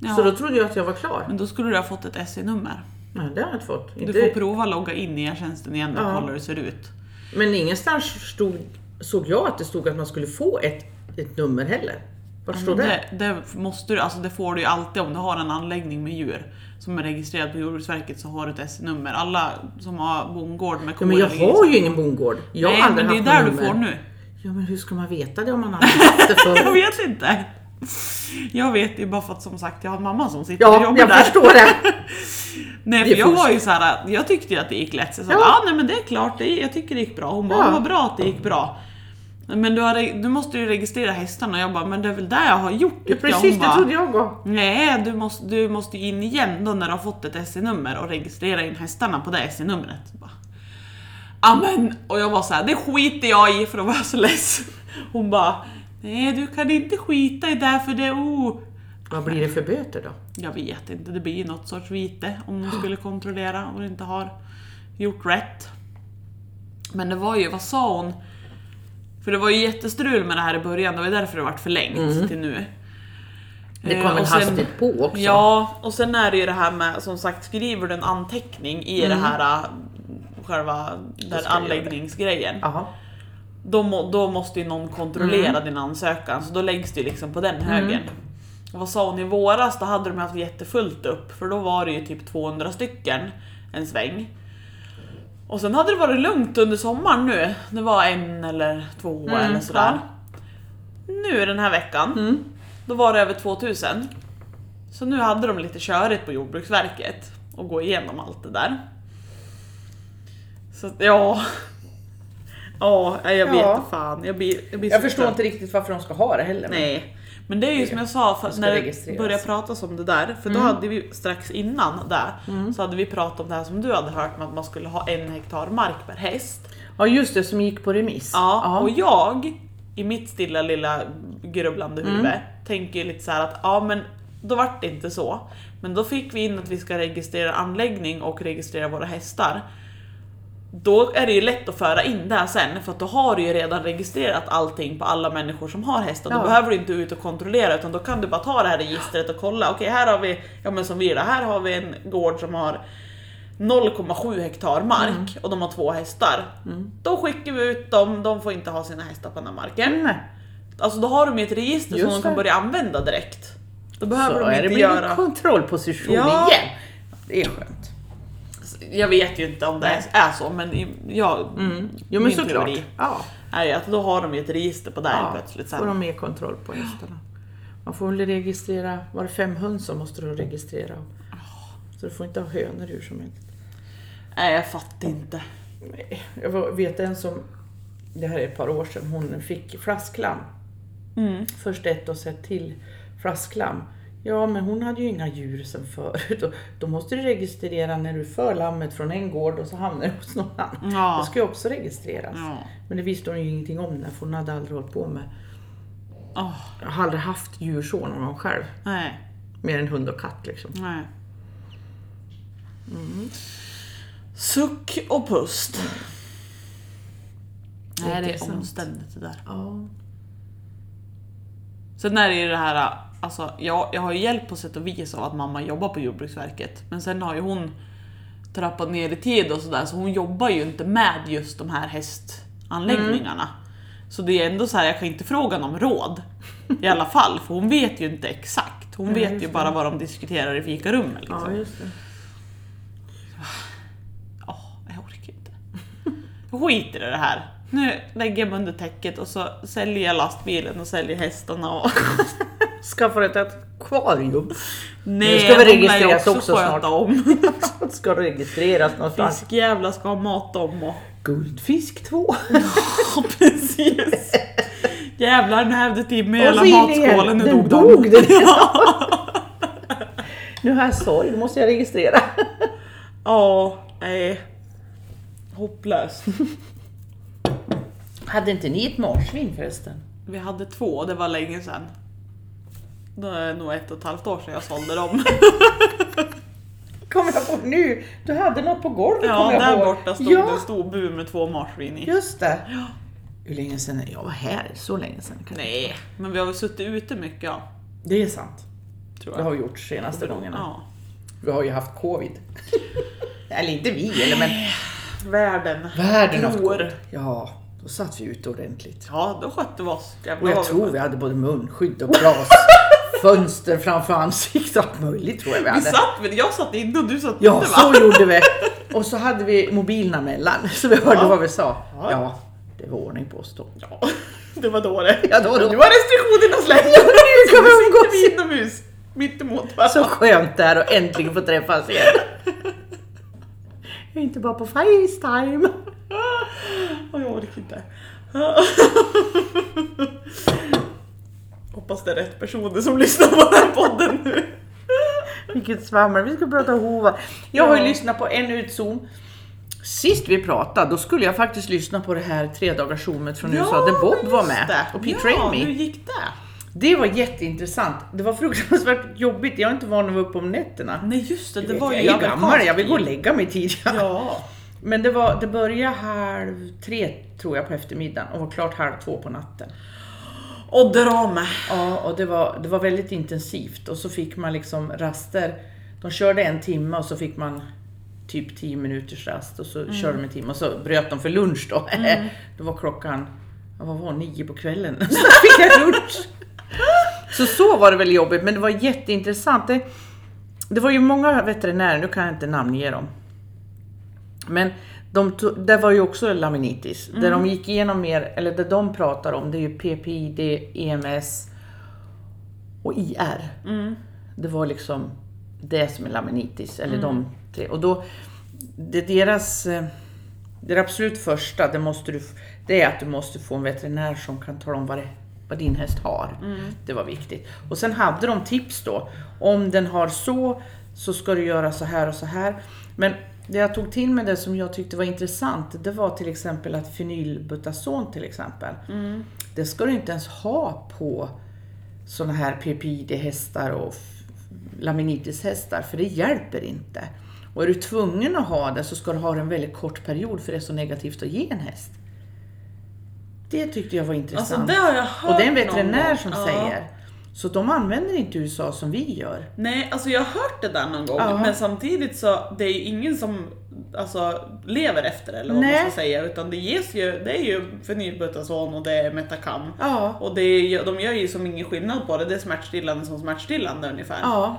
Speaker 2: Ja.
Speaker 1: Så då trodde jag att jag var klar.
Speaker 2: Men då skulle du ha fått ett SE-nummer.
Speaker 1: Nej, det har jag inte fått.
Speaker 2: Du
Speaker 1: Inte-
Speaker 2: får prova att logga in i e-tjänsten igen och
Speaker 1: Ja.
Speaker 2: kolla hur det ser ut.
Speaker 1: Men ingenstans stod, såg jag att det stod att man skulle få ett, ett nummer heller. Var
Speaker 2: Ja,
Speaker 1: står
Speaker 2: men
Speaker 1: det?
Speaker 2: Det, det, måste du, alltså det får du ju alltid om du har en anläggning med djur som är registrerad på Jordbruksverket så har du ett S-nummer. Alla som har bondgård med
Speaker 1: Ja,
Speaker 2: kor
Speaker 1: men jag
Speaker 2: eller gris-
Speaker 1: har ju ingen bondgård. Jag har
Speaker 2: Nej, men
Speaker 1: aldrig
Speaker 2: det är
Speaker 1: haft något
Speaker 2: där du får
Speaker 1: nummer.
Speaker 2: nu.
Speaker 1: Ja, men hur ska man veta det om man aldrig haft det
Speaker 2: Jag
Speaker 1: förut?
Speaker 2: vet inte. Jag vet ju bara för att som sagt jag har mamma som sitter och
Speaker 1: Ja,
Speaker 2: jobbar
Speaker 1: jag
Speaker 2: där.
Speaker 1: förstår det.
Speaker 2: Nej
Speaker 1: Det är
Speaker 2: för jag
Speaker 1: fusk.
Speaker 2: var ju så här, jag tyckte ju att det gick lätt. Så jag sa, ja.
Speaker 1: Ja.
Speaker 2: ah, nej men det är klart, det, jag tycker det gick bra. Hon bara,
Speaker 1: Ja.
Speaker 2: vad bra att det gick bra. Men du, har, reg- du måste ju registrera hästarna och jag bara, men det är väl det jag har gjort.
Speaker 1: Ja,
Speaker 2: tyckte jag.
Speaker 1: precis,
Speaker 2: Hon
Speaker 1: det
Speaker 2: bara,
Speaker 1: trodde jag också.
Speaker 2: Nej, du måste, du måste ju in igen då när du har fått ett SE-nummer och registrera in hästarna på det SE-numret. Bara, Amen! Och jag var så här, det skiter jag i för då var jag så less. Hon bara, nej du kan inte skita i det för det, oh.
Speaker 1: Vad blir det för böter då?
Speaker 2: Jag vet inte, det blir ju något sorts vite om de skulle kontrollera och inte har gjort rätt. Men det var ju, vad sa hon? För det var ju jättestrul med det här i början, det var ju därför det vart förlängt till nu.
Speaker 1: Mm. Det
Speaker 2: Eh,
Speaker 1: kom väl
Speaker 2: och sen-
Speaker 1: hastigt på också?
Speaker 2: Ja, och sen är det ju det här med, som sagt, skriver du en anteckning i det här äh, själva den
Speaker 1: ska jag
Speaker 2: anläggningsgrejen,
Speaker 1: Jaha.
Speaker 2: då, må, då måste ju någon kontrollera din ansökan, så då läggs det ju liksom på den högen. Och vad sa hon i våras? Då hade de haft jättefullt upp, för då var det ju typ 200 stycken en sväng. Och sen hade det varit lugnt under sommaren nu. Det var en eller två eller sådär. Nu den här veckan, då var det över 2000. Så nu hade de lite körigt på Jordbruksverket och gå igenom allt det där. Så att, ja... Ja, jag vet
Speaker 1: Ja.
Speaker 2: inte fan. Jag blir, jag blir
Speaker 1: Jag
Speaker 2: så
Speaker 1: förstår
Speaker 2: trött.
Speaker 1: inte riktigt varför de ska ha det heller. men-
Speaker 2: Nej, men det är ju som jag sa för
Speaker 1: ska Mm.
Speaker 2: när det
Speaker 1: registreras.
Speaker 2: började pratas om det där, för då hade vi strax innan det
Speaker 1: Mm.
Speaker 2: så hade vi pratat om det här som du hade hört med att man skulle ha en hektar mark per häst.
Speaker 1: Ja, just det, som gick på remiss.
Speaker 2: Ja, och jag i mitt stilla lilla grubblande huvud tänker ju lite så här att ja men då vart det inte så. Men då fick vi in att vi ska registrera anläggning och registrera våra hästar. Då är det ju lätt att föra in det här sen för att då har du ju redan registrerat allting på alla människor som har hästar. Då
Speaker 1: Ja.
Speaker 2: behöver du inte ut och kontrollera utan då kan du bara ta det här registret och kolla. Okej här har vi, ja men som vi gör, här har vi en gård som har 0,7 hektar mark
Speaker 1: Mm.
Speaker 2: och de har två hästar. Då skickar vi ut dem, de får inte ha sina hästar på den här marken.
Speaker 1: Nej.
Speaker 2: Alltså då har de ju ett register
Speaker 1: Just
Speaker 2: som de kan
Speaker 1: det.
Speaker 2: börja använda direkt.
Speaker 1: Så
Speaker 2: Då behöver
Speaker 1: är
Speaker 2: de
Speaker 1: det
Speaker 2: inte
Speaker 1: blivit
Speaker 2: göra...
Speaker 1: kontrollposition
Speaker 2: Ja.
Speaker 1: igen. Det är skönt.
Speaker 2: Jag vet ju inte om det är- är så men i- ja,
Speaker 1: Mm. Jo men
Speaker 2: Mm. min
Speaker 1: såklart.
Speaker 2: teori
Speaker 1: Ja.
Speaker 2: är ju att då har de ju ett register på det här plötsligt
Speaker 1: får
Speaker 2: sen.
Speaker 1: de mer kontroll på hästarna. Man får väl registrera, var det fem höns som måste du registrera? Så du får inte ha hönor hur som helst.
Speaker 2: Nej jag fattar inte.
Speaker 1: Nej, Jag var- vet en som, det här är ett par år sedan, hon fick flasklam. Först ett och sen till flasklam. Ja, men hon hade ju inga djur sen förut. Och då måste du registrera när du för lammet från en gård och så hamnar det hos någon annan.
Speaker 2: Ja.
Speaker 1: Det ska ju också registreras.
Speaker 2: Ja.
Speaker 1: Men det visste hon ju ingenting om när för hon hade aldrig hållit på med.
Speaker 2: Åh,
Speaker 1: Jag har aldrig haft djur så någon gång själv.
Speaker 2: nej,
Speaker 1: Mer än hund och katt liksom.
Speaker 2: nej. Mm. Suck och pust. Nej det är
Speaker 1: Intressant.
Speaker 2: omständigt det där.
Speaker 1: Ja.
Speaker 2: Sen är det ju det här, alltså jag, jag har ju hjälp på sätt och vis av att mamma jobbar på Jordbruksverket. Men sen har ju hon trappat ner i tid och sådär så hon jobbar ju inte med just de här hästanläggningarna. Så det är ändå så här, jag kan inte fråga någon om råd. I alla fall, för hon vet ju inte exakt. Hon vet ju bara vad de diskuterar i fikarummet. Liksom.
Speaker 1: ja, just det.
Speaker 2: Åh, jag orkar inte. Jag skiter i det här. Nu lägger jag mig under täcket och så säljer jag lastbilen och säljer hästarna och...
Speaker 1: Skaffar ett akvarium.
Speaker 2: Nej,
Speaker 1: ska vi
Speaker 2: de lär ju
Speaker 1: registreras också
Speaker 2: sköta
Speaker 1: snart.
Speaker 2: om.
Speaker 1: Ska registreras någonstans.
Speaker 2: Fiskjävlar ska ha mat om och...
Speaker 1: Guldfisk 2.
Speaker 2: Ja, precis. Jävlar, nu hävde Timmy hela
Speaker 1: så in
Speaker 2: matskålen,
Speaker 1: igen.
Speaker 2: nu
Speaker 1: Den
Speaker 2: dog de.
Speaker 1: dog den. Nu har jag sorg, nu måste jag registrera.
Speaker 2: Ja, nej. Hopplöst.
Speaker 1: Hade inte ni ett marsvin förresten?
Speaker 2: Vi hade två, det var länge sedan. Det är nog ett och ett halvt år sedan jag sålde dem.
Speaker 1: Kommer jag på nu? Du hade något på golvet
Speaker 2: Ja,
Speaker 1: kommer jag
Speaker 2: där
Speaker 1: ihåg.
Speaker 2: borta stod
Speaker 1: ja,
Speaker 2: det en stor bur med två marsvin i.
Speaker 1: just det. Hur länge sedan? är- Jag var här, så länge sedan. kan-
Speaker 2: Nej, men vi har väl suttit ute mycket ja.
Speaker 1: Det är sant.
Speaker 2: Tror
Speaker 1: Det
Speaker 2: jag.
Speaker 1: har vi gjort senaste gångerna.
Speaker 2: Ja.
Speaker 1: Vi har ju haft covid. Eller inte vi, eller men
Speaker 2: Världen.
Speaker 1: Världen av
Speaker 2: Glor.
Speaker 1: gott. Ja, då satt vi ute ordentligt.
Speaker 2: Ja, då skötte vi oss. Jävlar
Speaker 1: Och jag
Speaker 2: vad
Speaker 1: tror vi hade både munskydd och glas, fönster framför ansiktet, allt möjligt tror jag vi
Speaker 2: Vi
Speaker 1: hade.
Speaker 2: satt, men jag satt inne och du satt
Speaker 1: Ja,
Speaker 2: ute
Speaker 1: så gjorde vi. Och så hade vi mobilerna mellan, så vi hörde
Speaker 2: Ja.
Speaker 1: vad vi sa.
Speaker 2: Ja.
Speaker 1: Ja, det var ordning på oss då.
Speaker 2: Ja, det var då det.
Speaker 1: Ja, det var då.
Speaker 2: Nu har restriktionerna släppt.
Speaker 1: Ja, nu kan
Speaker 2: Så
Speaker 1: vi
Speaker 2: sitter
Speaker 1: umgås.
Speaker 2: vi inomhus. Mitt emot varandra.
Speaker 1: Så skönt det här och äntligen få träffas igen. Inte bara på Facetime.
Speaker 2: Och jag orkar inte. Hoppas det är rätt personer som lyssnar på den här podden nu.
Speaker 1: Vilket svammel, vi ska prata hovar. Jag har ju
Speaker 2: Ja.
Speaker 1: lyssnat på en utzoom. Sist vi pratade, då skulle jag faktiskt lyssna på det här tredagarszoomet från USA där Bob
Speaker 2: men
Speaker 1: var
Speaker 2: just
Speaker 1: med
Speaker 2: det.
Speaker 1: och Pete
Speaker 2: Ja, hur
Speaker 1: Ramey.
Speaker 2: gick det?
Speaker 1: Det var jätteintressant. Det var fruktansvärt jobbigt, jag är inte van att vara uppe om nätterna.
Speaker 2: Nej just det, det
Speaker 1: Vet,
Speaker 2: var ju
Speaker 1: jag är gammal,
Speaker 2: amerikansk
Speaker 1: jag vill gå och
Speaker 2: tid.
Speaker 1: lägga mig tidigare.
Speaker 2: Ja.
Speaker 1: Men det, var, det började halv tre tror jag på eftermiddagen och var klart halv två på natten.
Speaker 2: Och drama.
Speaker 1: Ja, och det var, det var väldigt intensivt och så fick man liksom raster. De körde en timme och så fick man typ 10 minuters rast och så körde de en timme och så bröt de för lunch då. Då var klockan, ja, vad var det, nio på kvällen? Så fick jag lunch. Så så var det väl jobbigt, men det var jätteintressant. Det, det var ju många veterinärer, nu kan jag inte namnge dem. Men de to- det var ju också laminitis. Där de gick igenom mer, eller det de pratar om, det är ju PPID, EMS och IR. Det var liksom det som är laminitis, eller de tre. Och då, det deras, eh, det absolut första, det, måste du, f- det är att du måste få en veterinär som kan tala om vad, det, vad din häst har. Det var viktigt. Och sen hade de tips då. Om den har så, så ska du göra så här och så här. Men det jag tog till mig det som jag tyckte var intressant, det var till exempel att fenylbutazon till exempel. Det ska du inte ens ha på sådana här PPID-hästar och f- laminitishästar, för det hjälper inte. Och är du tvungen att ha det så ska du ha det en väldigt kort period för det är så negativt att ge en häst. Det tyckte jag var intressant.
Speaker 2: Alltså det har jag hört
Speaker 1: och det är en
Speaker 2: någon
Speaker 1: veterinär
Speaker 2: gång.
Speaker 1: som
Speaker 2: Ja.
Speaker 1: säger. Så de använder inte USA som vi gör.
Speaker 2: Nej, alltså jag har hört det där någon gång
Speaker 1: Ja.
Speaker 2: men samtidigt så det är ju ingen som alltså, lever efter det, eller vad
Speaker 1: Nej.
Speaker 2: man ska säga utan det ges ju, det är ju fenylbutazon och det är metacam.
Speaker 1: Ja.
Speaker 2: Och det är, ju- de gör ju som ingen skillnad på det, det är smärtstillande som smärtstillande ungefär.
Speaker 1: Ja,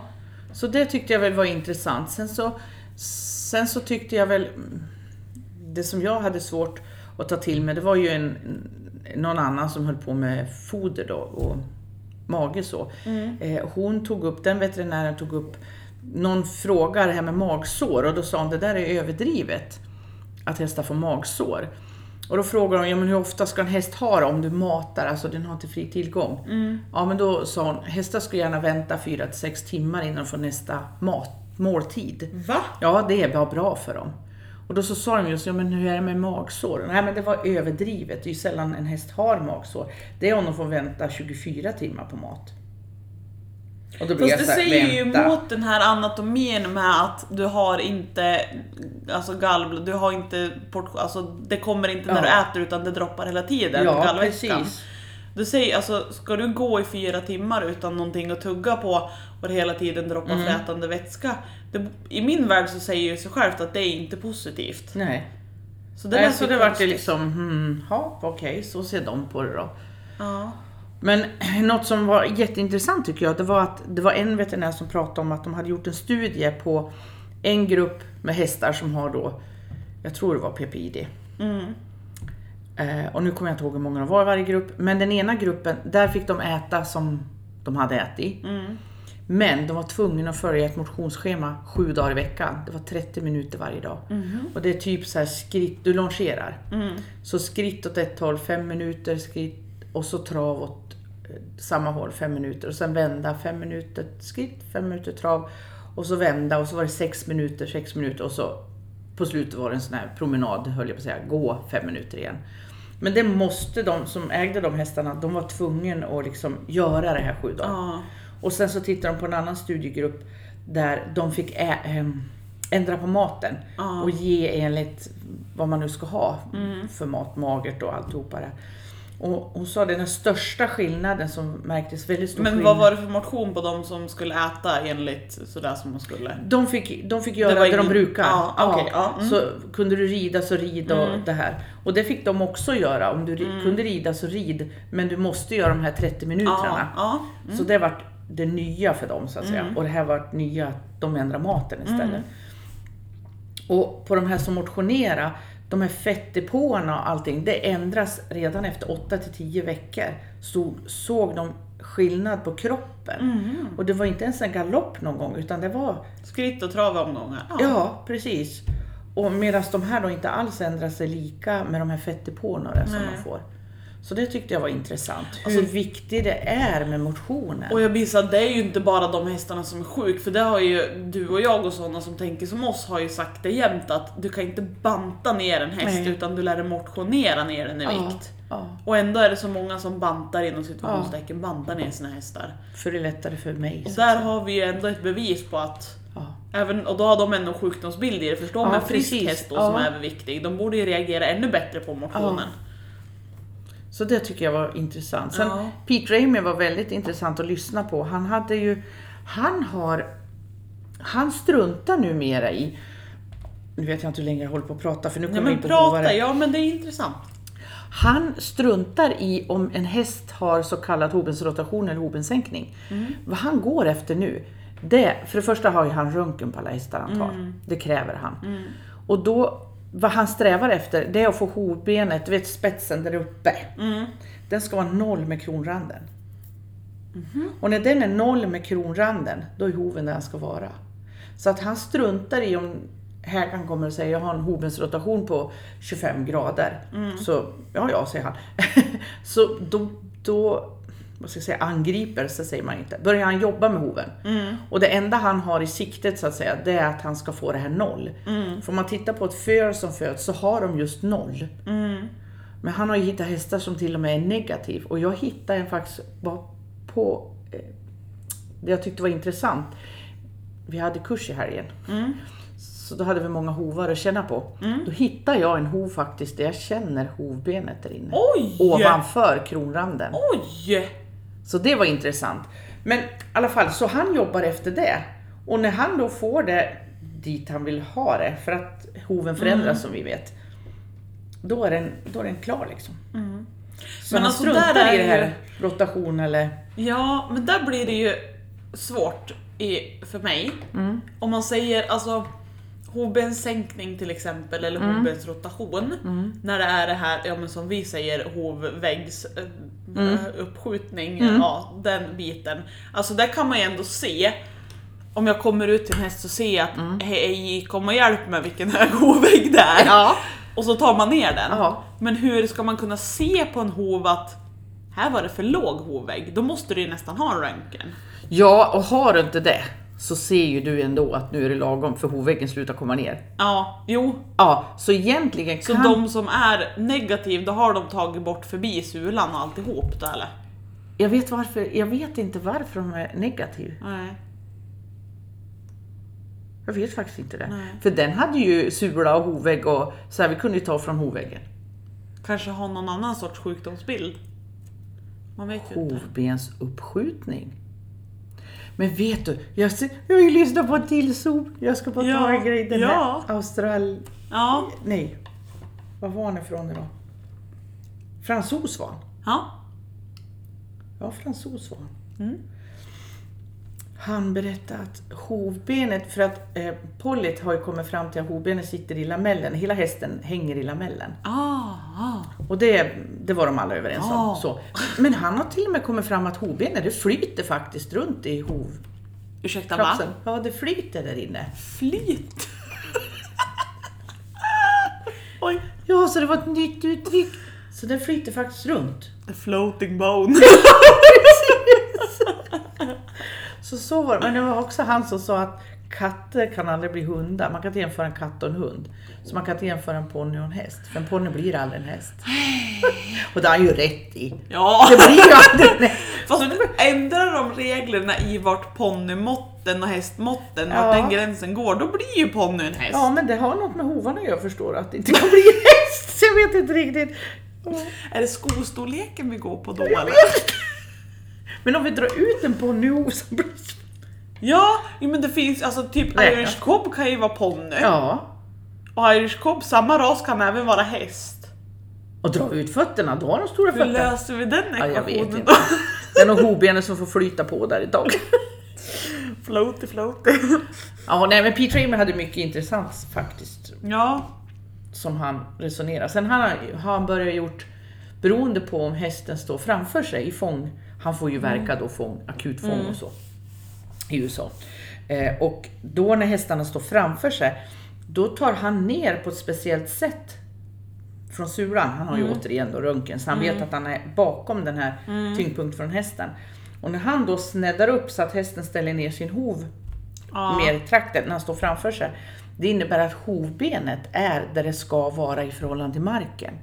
Speaker 1: så det tyckte jag väl var intressant. Sen så, sen så tyckte jag väl, mm, det som jag hade svårt att ta till mig, det var ju en, någon annan som höll på med foder då och mage så. Eh, Hon tog upp, den veterinären tog upp, någon frågar det här med magsår och då sa hon det där är överdrivet, att hästar får magsår. Och då frågar hon, ja men hur ofta ska en häst ha det om du matar, alltså den har inte fri tillgång? Ja men då sa hon, hästar ska gärna vänta 4 till 6 timmar innan de får nästa mat, måltid.
Speaker 2: Va?
Speaker 1: Ja, det var bra för dem. Och då så sa de just, ja men hur är det med magsår? Nej men det var överdrivet, det är ju sällan en häst har magsår. Det är om de får vänta 24 timmar på mat. Och då blir
Speaker 2: Fast
Speaker 1: jag
Speaker 2: det
Speaker 1: så här,
Speaker 2: säger ju
Speaker 1: vänta.
Speaker 2: emot den här anatomin med att du har inte alltså galv, du har inte portion, alltså det kommer inte när
Speaker 1: Ja.
Speaker 2: du äter utan det droppar hela tiden.
Speaker 1: Ja,
Speaker 2: gallvätskan.
Speaker 1: precis.
Speaker 2: Du säger alltså, ska du gå i fyra timmar utan någonting att tugga på och det hela tiden droppar
Speaker 1: Mm.
Speaker 2: frätande vätska? Det, I min värld så säger det sig självt att det är inte positivt.
Speaker 1: Nej.
Speaker 2: Så
Speaker 1: Det
Speaker 2: det,
Speaker 1: Nej,
Speaker 2: lät
Speaker 1: så
Speaker 2: ju
Speaker 1: det vart ju
Speaker 2: konstigt.
Speaker 1: liksom, hmm, ja okej, så ser de på det då.
Speaker 2: Ja.
Speaker 1: Men något som var jätteintressant tycker jag, det var att det var en veterinär som pratade om att de hade gjort en studie på en grupp med hästar som har då, jag tror det var PPID.
Speaker 2: Mm,
Speaker 1: Eh, och nu kommer jag inte ihåg hur många de var i varje grupp, men den ena gruppen, där fick de äta som de hade ätit.
Speaker 2: mm,
Speaker 1: Men de var tvungna att följa ett motionsschema sju dagar i veckan. Det var 30 minuter varje dag. Och det är typ så här skritt, du longerar.
Speaker 2: mm.
Speaker 1: Så skritt åt ett håll, fem minuter, skritt och så trav åt eh, samma håll, fem minuter. Och sen vända, fem minuter skritt, fem minuter trav. Och så vända och så var det sex minuter, sex minuter och så på slutet var det en sån här promenad, höll jag på att säga, gå fem minuter igen. Men det måste de som ägde de hästarna, de var tvungna att liksom göra det här sju dagar.
Speaker 2: Ja.
Speaker 1: Och sen så tittade de på en annan studiegrupp där de fick ä, ehm, ändra på maten
Speaker 2: Ja. Mm.
Speaker 1: och ge enligt vad man nu ska ha för mat, magert och alltihopa det. Och hon sa det, den största skillnaden som märktes, väldigt stor
Speaker 2: Men
Speaker 1: skillnad.
Speaker 2: vad var det för motion på de som skulle äta enligt sådär som de skulle?
Speaker 1: De fick, de fick
Speaker 2: Det
Speaker 1: göra
Speaker 2: var
Speaker 1: det, de
Speaker 2: ingen-
Speaker 1: brukar. Ah,
Speaker 2: Ja, okej, ja, mm.
Speaker 1: Så kunde du rida så rid och det här. Och det fick de också göra. Om du ri-
Speaker 2: Mm.
Speaker 1: kunde rida så rid, men du måste göra de här 30 minuterna.
Speaker 2: Ja, ja.
Speaker 1: Så det vart det nya för dem så att
Speaker 2: Mm.
Speaker 1: säga. Och det här vart nya, att de ändrar maten istället. Och på de här som motionerar, de här fettdepåerna och allting, det ändras redan efter 8 till 10 veckor. Så såg de skillnad på kroppen.
Speaker 2: Mm.
Speaker 1: Och det var inte ens en galopp någon gång, utan det var
Speaker 2: Skritt och travomgångar. Ja.
Speaker 1: Ja, precis. Och medan de här då inte alls ändrar sig lika med de här fettdepåerna och det som
Speaker 2: Nej. Alltså-
Speaker 1: de får. Så det tyckte jag var intressant. Hur viktigt det är med motionen.
Speaker 2: Och jag gissar att det är ju inte bara de hästarna som är sjuk för det har ju du och jag och sådana som tänker som oss har ju sagt det jämt att du kan inte banta ner en häst
Speaker 1: Nej.
Speaker 2: utan du lär dig motionera ner den i
Speaker 1: Ja,
Speaker 2: vikt.
Speaker 1: ja.
Speaker 2: Och ändå är det så många som bantar inom situationstecken, bantar ner sina hästar.
Speaker 1: För det är lättare för mig.
Speaker 2: Och
Speaker 1: så-
Speaker 2: där har vi ju ändå ett bevis på att
Speaker 1: Ja.
Speaker 2: Även, och då har de ändå en sjukdomsbild i det, förstå
Speaker 1: Ja,
Speaker 2: med en frisk
Speaker 1: precis.
Speaker 2: häst då,
Speaker 1: Ja.
Speaker 2: som är överviktig, de borde ju reagera ännu bättre på motionen.
Speaker 1: Så det tycker jag var intressant. Sen,
Speaker 2: Ja.
Speaker 1: Pete Ramey var väldigt intressant att lyssna på. Han hade ju, han har, han struntar numera i, nu vet jag inte hur länge jag håller på att prata för nu
Speaker 2: Nej
Speaker 1: kommer vi in
Speaker 2: men
Speaker 1: på
Speaker 2: prata,
Speaker 1: bovare.
Speaker 2: ja men det är intressant.
Speaker 1: Han struntar i om en häst har så kallad hobensrotation eller hobensänkning. Vad han går efter nu, det, för det första har ju han röntgen på alla hästar han tar. Det kräver han. Och då, vad han strävar efter, det är att få hovbenet, du vet spetsen där uppe. Den ska vara noll med kronranden. Och när den är noll med kronranden, då är hoven där den ska vara. Så att han struntar i om hägaren kommer och säger jag har en hovens rotation på 25 grader. Så ja, ja, säger han. så då, då vad ska jag säga, angriper så säger man inte. Börjar han jobba med hoven. Och det enda han har i siktet så att säga, det är att han ska få det här noll. För om man tittar på ett föl som föds så har de just noll. Men han har ju hittat hästar som till och med är negativ. Och jag hittade en faktiskt bara på eh, det jag tyckte var intressant. Vi hade kurs i helgen. Så då hade vi många hovar att känna på. Då hittade jag en hov faktiskt där jag känner hovbenet där inne.
Speaker 2: Oj!
Speaker 1: Ovanför kronranden.
Speaker 2: Oj!
Speaker 1: Så det var intressant. Men i alla fall, så han jobbar efter det. Och när han då får det dit han vill ha det, för att hoven förändras som vi vet, då är den, då är den klar liksom. Så
Speaker 2: Men
Speaker 1: han
Speaker 2: alltså,
Speaker 1: struntar
Speaker 2: där är
Speaker 1: i det här
Speaker 2: ju-
Speaker 1: rotation eller...
Speaker 2: Ja, men där blir det ju svårt i, för mig.
Speaker 1: Mm.
Speaker 2: Om man säger alltså hovbenssänkning till exempel eller
Speaker 1: Mm.
Speaker 2: hovbensrotation. När det är det här ja, men som vi säger hovväggs eh,
Speaker 1: Mm.
Speaker 2: eh, uppskjutning, ja, den biten. Alltså där kan man ju ändå se om jag kommer ut till en häst och ser jag att
Speaker 1: Mm.
Speaker 2: hej kom och hjälp mig vilken hög hovvägg det är.
Speaker 1: Ja.
Speaker 2: Och så tar man ner den.
Speaker 1: Ja.
Speaker 2: Men hur ska man kunna se på en hov att här var det för låg hovvägg? Då måste du ju nästan ha en röntgen.
Speaker 1: Ja, och har du inte det så ser ju du ändå att nu är det lagom för hovväggen slutar komma ner.
Speaker 2: Ja, jo.
Speaker 1: Ja, så egentligen
Speaker 2: Så
Speaker 1: kan...
Speaker 2: de som är negativ, då har de tagit bort förbi sulan och alltihop då eller?
Speaker 1: Jag, vet varför, jag vet inte varför de är negativ.
Speaker 2: Nej.
Speaker 1: Jag vet faktiskt inte det.
Speaker 2: Nej.
Speaker 1: För den hade ju sula och hovägg och så här, vi kunde ju ta från hoväggen.
Speaker 2: Kanske har någon annan sorts sjukdomsbild. Man vet ju inte.
Speaker 1: Hovbensuppskjutning. Men vet du, jag, ser, jag vill lyssna på en till zoom. Jag ska bara
Speaker 2: Ja,
Speaker 1: ta en grej. Den
Speaker 2: ja.
Speaker 1: här Austral...
Speaker 2: Ja.
Speaker 1: Nej. Vad var han ifrån idag? Fransos var han.
Speaker 2: Ja.
Speaker 1: Ja, fransos var han.
Speaker 2: Mm.
Speaker 1: Han berättade att hovbenet, för att eh, pollet har ju kommit fram till att hovbenet sitter i lamellen. Hela hästen hänger i lamellen.
Speaker 2: Ah, ah.
Speaker 1: Och det, det var de alla överens om.
Speaker 2: Ja.
Speaker 1: Så. Men han har till och med kommit fram att hovbenet det flyter faktiskt runt i hovkroppen.
Speaker 2: Ursäkta va?
Speaker 1: Ja, det flyter där inne.
Speaker 2: Flyt. Oj.
Speaker 1: Ja, så det var ett nytt uttryck. Så den flyter faktiskt runt.
Speaker 2: A floating bone.
Speaker 1: Så så var det. Men det var också han som sa att katter kan aldrig bli hundar. Man kan inte jämföra en katt och en hund. Så man kan inte jämföra en ponny och en häst. För en ponny blir aldrig en häst. Och det har han ju rätt i.
Speaker 2: Ja.
Speaker 1: Det blir ju aldrig en häst.
Speaker 2: Fast ändrar de reglerna i vart ponnymåtten och hästmåtten,
Speaker 1: Ja.
Speaker 2: vart den gränsen går, då blir ju ponny en häst.
Speaker 1: Ja, men det har något med hovarna att göra förstår du, att det inte kan bli en häst. Så jag vet inte riktigt.
Speaker 2: Är det skostorleken vi går på då
Speaker 1: Jag
Speaker 2: eller?
Speaker 1: vet inte. Men om vi drar ut den på nu så blir det...
Speaker 2: Ja, jo, men det finns alltså typ
Speaker 1: Nej,
Speaker 2: Irish Cobb kan ju vara ponny.
Speaker 1: Ja.
Speaker 2: Och Irish Cobb, samma ras, kan även vara häst.
Speaker 1: Och drar vi ut fötterna, då har de stora
Speaker 2: Hur
Speaker 1: fötter.
Speaker 2: löser vi den
Speaker 1: Ja, jag vet
Speaker 2: ekvationen
Speaker 1: inte.
Speaker 2: då?
Speaker 1: Det är nog hobenet som får flyta på där ett tag.
Speaker 2: floaty floaty.
Speaker 1: Ja, nej men Pete Raymer hade mycket intressant faktiskt,
Speaker 2: Ja,
Speaker 1: som han resonerar. Sen har han, har han börjat gjort, beroende på om hästen står framför sig i fång, han får ju verka då fång, akut fång och så i USA. Eh, och då när hästarna står framför sig, då tar han ner på ett speciellt sätt från sulan. Han har ju återigen då röntgen, så han vet att han är bakom den här tyngdpunkt från hästen. Och när han då sneddar upp så att hästen ställer ner sin hov
Speaker 2: Ja.
Speaker 1: mer i trakten när han står framför sig. Det innebär att hovbenet är där det ska vara i förhållande till marken.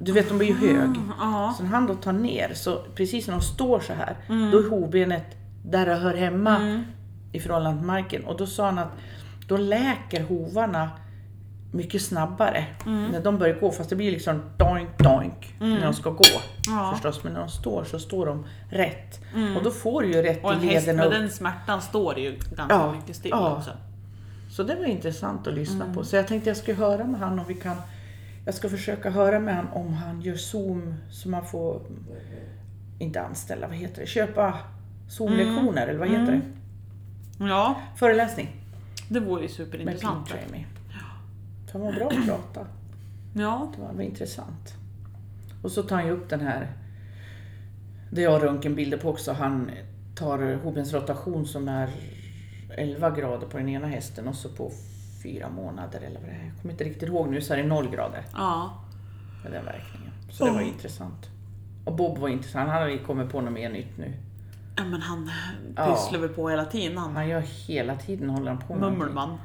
Speaker 1: Du vet, de blir ju hög.
Speaker 2: Ah, ja. Mm.
Speaker 1: Så när han då tar ner, så precis när de står så här, då är hovbenet där det hör hemma i förhållande till marken. Och då sa han att då läker hovarna mycket snabbare
Speaker 2: Mm.
Speaker 1: när de börjar gå. Fast det blir liksom doink doink när de ska gå.
Speaker 2: Ja. Mm.
Speaker 1: Förstås, men när de står så står de rätt. Och då får du ju rätt
Speaker 2: Och en
Speaker 1: i
Speaker 2: häst
Speaker 1: lederna
Speaker 2: med
Speaker 1: upp.
Speaker 2: den smärtan står ju ganska
Speaker 1: Ja,
Speaker 2: mycket still
Speaker 1: ja.
Speaker 2: också.
Speaker 1: Så det var intressant att lyssna på. Så jag tänkte jag ska höra med han om vi kan... Jag ska försöka höra med han om han gör Zoom så man får... Inte anställa, vad heter det? Köpa Zoom-lektioner eller vad heter det?
Speaker 2: Ja,
Speaker 1: Föreläsning
Speaker 2: det vore
Speaker 1: med
Speaker 2: ju
Speaker 1: Pete
Speaker 2: superintressant.
Speaker 1: Ramey. Det var bra att prata.
Speaker 2: Ja,
Speaker 1: Det var, det var intressant. Och så tar han ju upp den här... Det jag har röntgenbilder på också. Han tar hobens rotation som är 11 grader på den ena hästen och så på fyra månader eller vad det är. Jag kommer inte riktigt ihåg nu så är det 0 grader
Speaker 2: ja.
Speaker 1: med den verkningen. Så det var
Speaker 2: Ja.
Speaker 1: intressant. Och Bob var intressant. Han hade ju kommit på något mer nytt nu.
Speaker 2: ja men han
Speaker 1: Ja.
Speaker 2: pysslar väl på hela tiden han.
Speaker 1: Han gör hela tiden håller han på med någonting.
Speaker 2: Mummelman.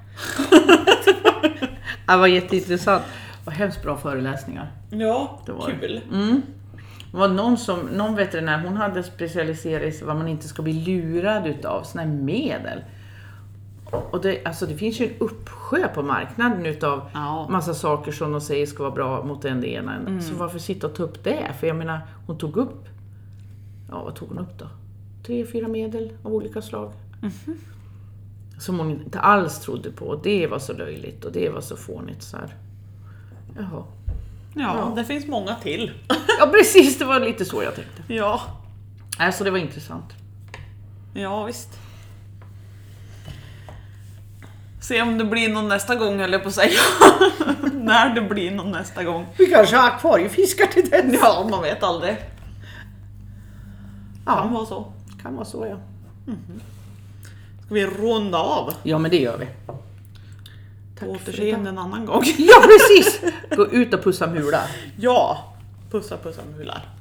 Speaker 1: Det var jätteintressant. Och hemskt bra föreläsningar.
Speaker 2: Ja,
Speaker 1: Det var det.
Speaker 2: kul.
Speaker 1: Mm. Det var någon, som, någon veterinär, hon hade specialiserat sig vad man inte ska bli lurad utav, sådana här medel. Och det, alltså det finns ju en uppsjö på marknaden utav
Speaker 2: Ja.
Speaker 1: massa saker som de säger ska vara bra mot en det ena. Så varför sitta och ta upp det? För jag menar, hon tog upp, ja vad tog hon upp då? Tre, fyra medel av olika slag. Som hon inte alls trodde på. Och det var så löjligt och det var så fånigt så här. Jaha.
Speaker 2: Ja, det finns många till.
Speaker 1: Ja precis, det var lite så jag tänkte.
Speaker 2: Ja,
Speaker 1: Alltså det var intressant.
Speaker 2: ja visst. Se om det blir någon nästa gång höll jag på att säga. När det blir någon nästa gång.
Speaker 1: Vi kanske har akvariefiskar till den. Ja,
Speaker 2: Ja, man vet aldrig. Kan
Speaker 1: ja
Speaker 2: vara så.
Speaker 1: kan vara så ja.
Speaker 2: Ska vi runda av?
Speaker 1: Ja men det gör vi.
Speaker 2: På
Speaker 1: Tack för
Speaker 2: återseende en annan gång.
Speaker 1: Ja precis! Gå ut och pussa mular.
Speaker 2: Ja, pussa pussa mular.